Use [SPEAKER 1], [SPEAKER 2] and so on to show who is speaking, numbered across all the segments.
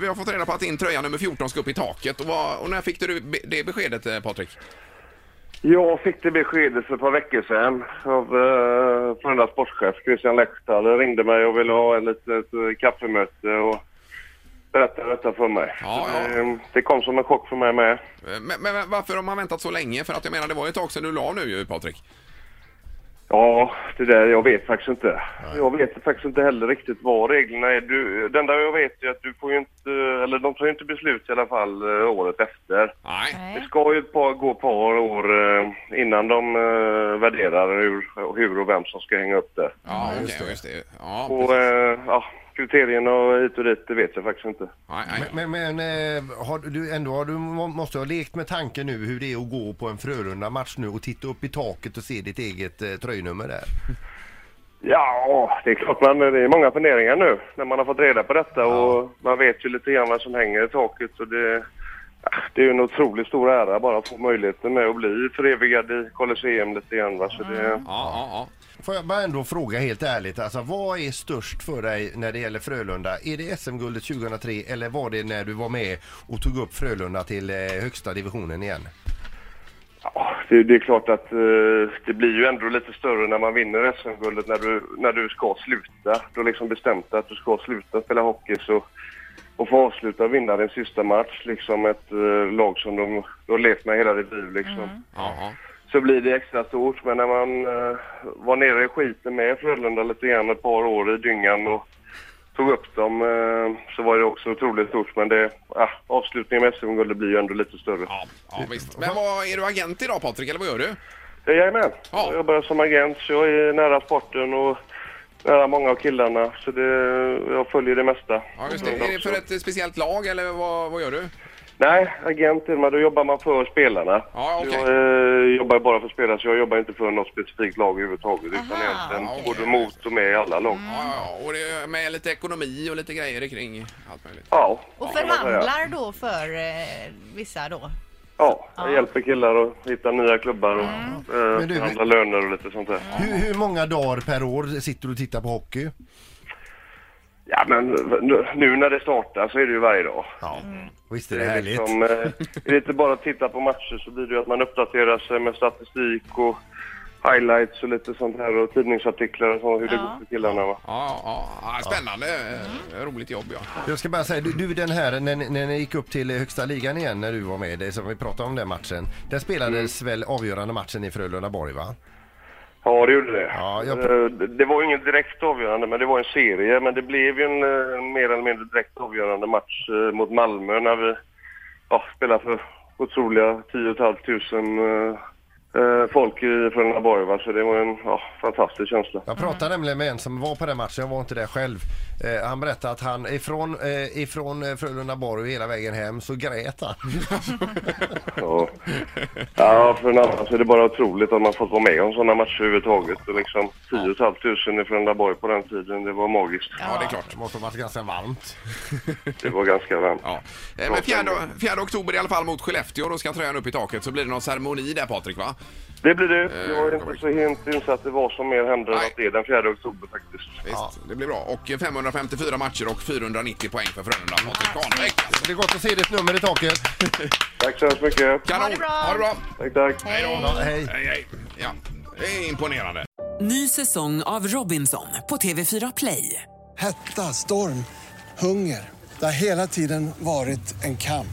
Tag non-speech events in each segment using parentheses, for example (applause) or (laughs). [SPEAKER 1] Vi har fått reda på att din tröja nummer 14 ska upp i taket. Och, vad, och när fick du be- det beskedet, eh, Patrik?
[SPEAKER 2] Jag fick det beskedet för ett par veckor sedan av eh, Frölundas sportchef Christian Lekstal. Han ringde mig och ville ha en litet eh, kaffemöte och berättade detta för mig.
[SPEAKER 1] Ja, ja.
[SPEAKER 2] Eh, det kom som en chock för mig med.
[SPEAKER 1] Eh, Men, men varför har man väntat så länge? För att jag menar, det var ju ett tag sedan du la nu ju, Patrik.
[SPEAKER 2] Ja, det där, jag vet faktiskt inte. Jag vet faktiskt inte heller riktigt vad reglerna är. Du, det enda jag vet är att du får ju inte, eh, eller de tar ju inte beslut i alla fall eh, året efter.
[SPEAKER 1] Nej.
[SPEAKER 2] Det
[SPEAKER 3] Nej.
[SPEAKER 2] ska ju ett par, gå ett par år eh, innan de eh, värderar hur, hur och vem som ska hänga upp det.
[SPEAKER 1] Ja, okej, just det. Ja,
[SPEAKER 2] Och
[SPEAKER 1] precis.
[SPEAKER 2] eh, ja, kriterierna och hit och dit, det vet jag faktiskt inte.
[SPEAKER 1] Nej, nej.
[SPEAKER 4] Men, men eh, har du, ändå har du, må- måste ha lekt med tanken nu hur det är att gå på en Frölunda-match nu och titta upp i taket och se ditt eget eh, tröjnummer där.
[SPEAKER 2] Ja, det är klart, men det är många funderingar nu när man har fått reda på detta och man vet ju lite grann vad som hänger i taket och det, ah, det är ju en otroligt stor ära bara att få möjligheten med att bli förevigad i Colosseum lite grann. Va? Så det,
[SPEAKER 1] Ja, ja, ja.
[SPEAKER 4] Får jag bara ändå fråga helt ärligt, alltså, vad är störst för dig när det gäller Frölunda? Är det SM-guldet 2003 eller var det när du var med och tog upp Frölunda till eh, högsta divisionen igen?
[SPEAKER 2] ja, det, det är klart att eh, det blir ju ändå lite större när man vinner SM-guldet när du, när du ska sluta. Du har liksom bestämt dig att du ska sluta spela hockey så och få avsluta och vinna din sista match, liksom ett eh, lag som de, du har levt med hela ditt liv liksom.
[SPEAKER 1] ja, ja.
[SPEAKER 2] så blir det extra stort. Men när man eh, var nere i skiten med Frölunda lite grann ett par år i dyngan och tog upp dem eh, så var det också otroligt stort. Men det, ah, avslutningen med SM-guldet blir ju ändå lite större.
[SPEAKER 1] Ja, ja, visst. Men vad, är du agent idag Patrik, eller vad gör du?
[SPEAKER 2] Jajamän,
[SPEAKER 1] Ja.
[SPEAKER 2] jag jobbar som agent så jag är nära sporten och nära många av killarna. Så det, jag följer det mesta.
[SPEAKER 1] Ja, just det. Är det för ett eh, speciellt lag, eller vad, vad gör du?
[SPEAKER 2] Nej, agent är man. Då jobbar man för spelarna.
[SPEAKER 1] Ja, okej.
[SPEAKER 2] Jag eh, jobbar ju bara för spelare, så jag jobbar inte för något specifikt lag överhuvudtaget. Utan
[SPEAKER 3] Aha.
[SPEAKER 2] egentligen
[SPEAKER 1] Ja, okej. Mm.
[SPEAKER 2] både mot och med i alla lag.
[SPEAKER 1] Ja, ja, ja. och det är med lite ekonomi och lite grejer kring allt möjligt.
[SPEAKER 2] Ja.
[SPEAKER 3] Och
[SPEAKER 2] kan man säga.
[SPEAKER 3] förhandlar då för eh, vissa då?
[SPEAKER 2] Ja, jag
[SPEAKER 3] Ja.
[SPEAKER 2] hjälper killar att hitta nya klubbar och
[SPEAKER 1] Mm.
[SPEAKER 2] eh,
[SPEAKER 4] Men du-
[SPEAKER 2] förhandla löner och lite sånt där.
[SPEAKER 4] Hur, hur många dagar per år sitter du och tittar på hockey?
[SPEAKER 2] Ja, men nu, nu när det startar så är det ju varje dag.
[SPEAKER 4] Ja, visst är det härligt?
[SPEAKER 2] liksom, eh, är det inte bara att titta på matcher så blir det ju att man uppdaterar sig med statistik och highlights och lite sånt här och tidningsartiklar och så, hur det
[SPEAKER 3] Ja.
[SPEAKER 2] går för killarna. Va?
[SPEAKER 1] Ja, ja, ja. Spännande. eh, Roligt jobb, ja.
[SPEAKER 4] Jag ska bara säga, du, du den här, när, ni- när ni gick upp till högsta ligan igen när du var med, det som vi pratade om den matchen. Där spelades väl avgörande matchen i Frölunda-Borg va?
[SPEAKER 2] Ja, det gjorde det.
[SPEAKER 4] Ja, jag-
[SPEAKER 2] Eh, det- Det var ju inget direkt avgörande, men det var en serie. Men det blev ju en eh, mer eller mindre direkt avgörande match eh, mot Malmö när vi ja, spelade för otroliga 10 500 eh, eh, folk i Frölundaborg. va. Så det var en ja, fantastisk känsla.
[SPEAKER 4] Jag pratade nämligen med en som var på den matchen, jag var inte där själv. Eh, han berättade att han ifrån, eh, ifrån eh, Frölunda-Borg hela vägen hem så grät han. (laughs)
[SPEAKER 2] Ja, ja för en annan så är det bara otroligt att man fått vara med om sådana matcher överhuvudtaget. Och liksom 10 500 i Frölundaborg på den tiden, det var magiskt.
[SPEAKER 1] Ja, det är klart.
[SPEAKER 4] Det måste ha varit ganska varmt.
[SPEAKER 2] Det var ganska varmt.
[SPEAKER 1] Ja. Eh, Men 4, 4 oktober i alla fall mot Skellefteå, då ska tröjan upp i taket. Så blir det någon ceremoni där Patrik, va?
[SPEAKER 2] Det blir det. Jag är inte så helt insatt i vad som mer händer än
[SPEAKER 1] Eh, Nej.
[SPEAKER 2] att det är den 4 oktober faktiskt.
[SPEAKER 1] Visst, det blir bra. Och eh, 554 matcher och 490 poäng för Frölunda. Patrik Kahnbäck alltså.
[SPEAKER 4] Det är gott att se ditt nummer i taket.
[SPEAKER 2] Tack så hemskt mycket.
[SPEAKER 1] Kanon!
[SPEAKER 3] Ha det bra.
[SPEAKER 1] Ha det bra!
[SPEAKER 2] Tack, tack.
[SPEAKER 4] Ja, hej.
[SPEAKER 1] Hej, hej. Ja, det är imponerande.
[SPEAKER 5] Ny säsong av Robinson på TV4 Play.
[SPEAKER 6] Hetta, storm, hunger. Det har hela tiden varit en kamp.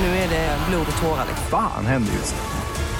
[SPEAKER 5] Nu är det blod och tårar. liksom.
[SPEAKER 7] Fan händer just nu.